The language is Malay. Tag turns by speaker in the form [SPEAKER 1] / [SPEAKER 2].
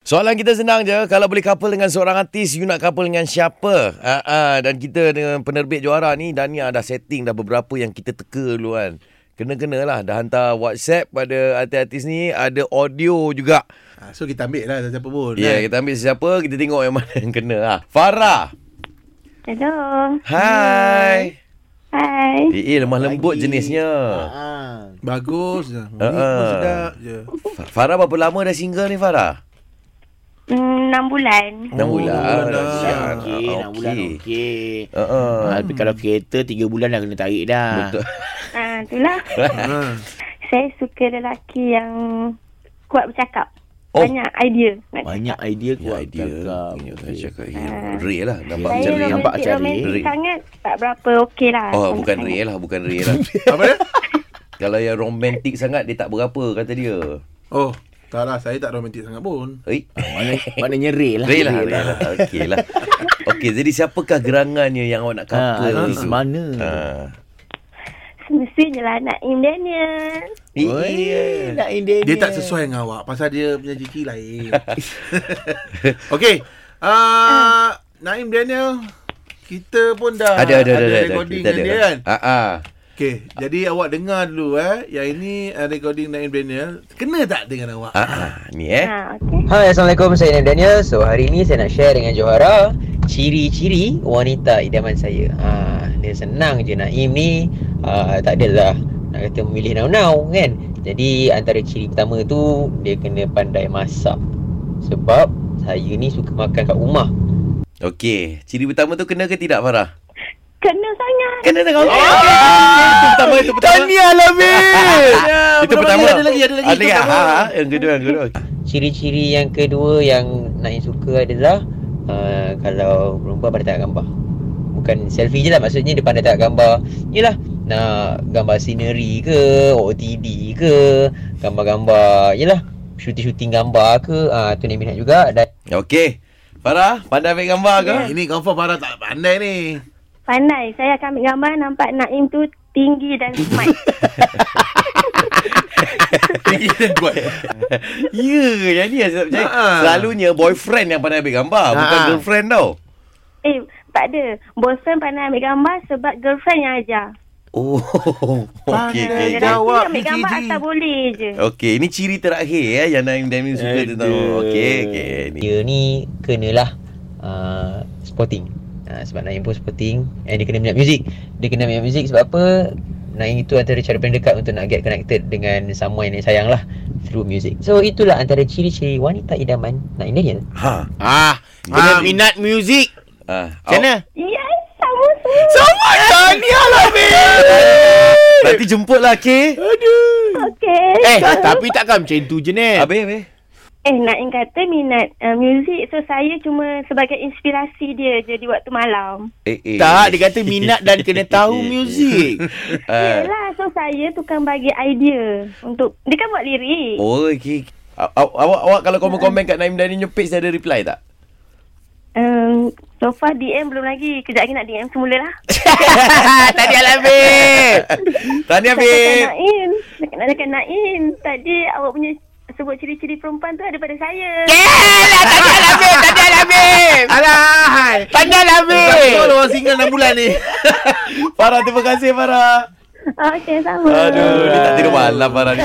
[SPEAKER 1] Soalan kita senang je. Kalau boleh couple dengan seorang artis, you nak couple dengan siapa? Uh, uh, dan kita dengan penerbit juara ni, Dania dah setting dah beberapa yang kita teka dulu kan. Kena-kena lah. Dah hantar WhatsApp pada artis-artis ni. Ada audio juga.
[SPEAKER 2] Ha, so kita ambil lah siapa pun.
[SPEAKER 1] Ya, yeah, kita ambil siapa, kita tengok yang mana yang kena lah. Farah.
[SPEAKER 3] Hello.
[SPEAKER 1] Hai.
[SPEAKER 3] Hi.
[SPEAKER 1] Eh, eh lemah lembut
[SPEAKER 2] Pagi.
[SPEAKER 1] jenisnya.
[SPEAKER 2] Ha. Bagus je.
[SPEAKER 1] Ha,
[SPEAKER 2] Mulut
[SPEAKER 1] ha.
[SPEAKER 2] pun sedap je.
[SPEAKER 4] Ha.
[SPEAKER 1] Fa- Farah berapa lama dah single ni Farah?
[SPEAKER 3] Hmm, 6 bulan.
[SPEAKER 1] 6 oh, bulan.
[SPEAKER 2] enam bulan dah.
[SPEAKER 1] Siap.
[SPEAKER 2] Ah,
[SPEAKER 4] Okey,
[SPEAKER 1] Ah,
[SPEAKER 4] nak bulan okey.
[SPEAKER 1] Uh-uh.
[SPEAKER 4] Ha, tapi kalau kereta 3 bulan dah kena tarik dah.
[SPEAKER 1] Betul.
[SPEAKER 3] Ah, itulah.
[SPEAKER 2] Ha.
[SPEAKER 3] Saya suka lelaki yang kuat bercakap.
[SPEAKER 1] Oh.
[SPEAKER 3] Banyak idea. nak
[SPEAKER 4] Banyak idea
[SPEAKER 1] Ya,
[SPEAKER 4] kuat
[SPEAKER 1] dia.
[SPEAKER 4] cakap.
[SPEAKER 1] Ya, saya
[SPEAKER 4] Okey.
[SPEAKER 1] cakap. Ya, real lah. Nampak
[SPEAKER 3] cakap.
[SPEAKER 1] macam
[SPEAKER 3] Saya
[SPEAKER 1] real.
[SPEAKER 4] nampak
[SPEAKER 3] romantik,
[SPEAKER 4] macam
[SPEAKER 3] romantik
[SPEAKER 1] real.
[SPEAKER 3] sangat. Tak berapa okey lah.
[SPEAKER 1] Oh, bukan real lah. Bukan real lah.
[SPEAKER 2] Apa dia?
[SPEAKER 1] Kalau yang romantik sangat, dia tak berapa kata dia.
[SPEAKER 2] Oh, tak lah. Saya tak romantik sangat pun.
[SPEAKER 1] Eh?
[SPEAKER 4] Maknanya, maknanya real lah.
[SPEAKER 1] Real lah. Real lah. Okey lah. Okey, jadi siapakah gerangannya yang awak nak
[SPEAKER 4] Ha,
[SPEAKER 1] couple?
[SPEAKER 4] artis
[SPEAKER 1] tu?
[SPEAKER 4] mana?
[SPEAKER 1] Ha.
[SPEAKER 3] Semestinya lah nak Im Daniel.
[SPEAKER 4] Oi,
[SPEAKER 1] Eh,
[SPEAKER 4] nak Indian.
[SPEAKER 2] Dia tak sesuai dengan awak. Pasal dia punya jiki lain. Okey. Uh, Naim Daniel. Kita pun dah
[SPEAKER 1] Ada, ada, ada. ada, ada.
[SPEAKER 2] recording
[SPEAKER 1] Kita
[SPEAKER 2] dengan dia kan.
[SPEAKER 1] Ah, ah.
[SPEAKER 2] Okey. Jadi awak dengar dulu eh. Yang ini uh, recording Naim Daniel. Kena tak dengan awak?
[SPEAKER 1] Ah, ah. Ni eh.
[SPEAKER 3] Ha, okey.
[SPEAKER 5] Hai, Assalamualaikum. Saya Naim Daniel. So, hari ni saya nak share dengan Johara ciri-ciri wanita idaman saya. Ha, dia senang je Naim ni. Ha, tak adalah nak kata memilih now-now kan. Jadi, antara ciri pertama tu, dia kena pandai masak. Sebab saya ni suka makan kat rumah.
[SPEAKER 1] Okey, ciri pertama tu kena ke tidak Farah?
[SPEAKER 3] Kena sangat.
[SPEAKER 1] Kena dengan okey. okey, okey. Itu pertama, itu pertama. Tahniah Lamin. itu pertama.
[SPEAKER 2] Ada lagi, ada lagi.
[SPEAKER 1] Ada lagi.
[SPEAKER 2] Itu
[SPEAKER 1] Ha,
[SPEAKER 2] pertama.
[SPEAKER 1] ha, yang kedua, yang kedua.
[SPEAKER 5] Ciri-ciri yang kedua yang Naim suka adalah uh, kalau perempuan pandai tengok gambar. Bukan selfie je lah maksudnya dia pandai tengok gambar. Yelah nak gambar scenery ke, OOTD ke, gambar-gambar. Yelah shooting-shooting gambar ke, ah uh, tu Naim minat juga dan
[SPEAKER 1] Okey. Farah, pandai ambil gambar ke?
[SPEAKER 2] Ini confirm Farah tak pandai ni.
[SPEAKER 3] Pandai. Saya akan ambil gambar nampak Naim tu tinggi dan smart.
[SPEAKER 2] Tinggi dan kuat.
[SPEAKER 1] Ya, yang ni yang saya tak percaya.
[SPEAKER 2] Ha.
[SPEAKER 1] Selalunya boyfriend yang pandai ambil gambar, bukan
[SPEAKER 2] Ha.
[SPEAKER 1] girlfriend tau.
[SPEAKER 3] eh, tak ada. Boyfriend pandai ambil gambar sebab girlfriend yang ajar.
[SPEAKER 1] Oh, okey,
[SPEAKER 2] Pandai
[SPEAKER 1] okey. okey.
[SPEAKER 3] Lelaki
[SPEAKER 2] gambar. Jawab,
[SPEAKER 3] ambil gambar
[SPEAKER 2] BGD.
[SPEAKER 3] asal boleh je.
[SPEAKER 1] Okey, ini ciri terakhir ya yang Naim Dami suka
[SPEAKER 4] Aduh.
[SPEAKER 1] tentang. Okey, okey. Ni.
[SPEAKER 5] dia ni kenalah uh, sporting. Uh, sebab Naim pun sporting and dia kena minat muzik. Dia kena minat muzik sebab apa? Naim itu antara cara paling dekat untuk nak get connected dengan someone yang dia sayang lah through music. So itulah antara ciri-ciri wanita idaman Naim Daniel.
[SPEAKER 1] Ha.
[SPEAKER 4] Ah,
[SPEAKER 1] Kena-
[SPEAKER 4] kena minat muzik.
[SPEAKER 1] Ha.
[SPEAKER 4] Macam mana?
[SPEAKER 3] Yes, sama semua.
[SPEAKER 1] Sama Tahniah Lamin. Nanti jemputlah, okey?
[SPEAKER 4] Aduh.
[SPEAKER 3] Okey.
[SPEAKER 4] Eh, tapi takkan macam tu je, Nat.
[SPEAKER 1] Habis, habis.
[SPEAKER 3] Eh, Naim kata minat uh, muzik. So, saya cuma sebagai inspirasi dia je di waktu malam.
[SPEAKER 1] Eh, eh.
[SPEAKER 4] Tak, dia kata minat dan kena tahu muzik. Eh.
[SPEAKER 1] Ah.
[SPEAKER 3] Yelah, so saya tukang bagi idea. Untuk, dia kan buat lirik.
[SPEAKER 1] Oh, okey. Aw- aw- Awak awak kalau komen-komen kat Naim Daniel punya page dia ada reply tak?
[SPEAKER 3] Um, so far DM belum lagi. Kejap lagi nak DM semula lah.
[SPEAKER 4] Tadi Alamin. Eh,
[SPEAKER 1] Tahniah
[SPEAKER 3] Cakap
[SPEAKER 1] Fib.
[SPEAKER 3] Naim. Nak nak cakap Naim. Tadi awak punya sebut ciri-ciri perempuan tu daripada saya.
[SPEAKER 4] Yelah, tadi Alamin. Tadi Alamin.
[SPEAKER 2] Alah.
[SPEAKER 4] Tadi Alamin.
[SPEAKER 1] lah,
[SPEAKER 2] Betul orang single 6 bulan ni.
[SPEAKER 1] Farah terima kasih Farah.
[SPEAKER 3] Okey, sama.
[SPEAKER 1] Aduh, dia tak tidur malam Farah ni.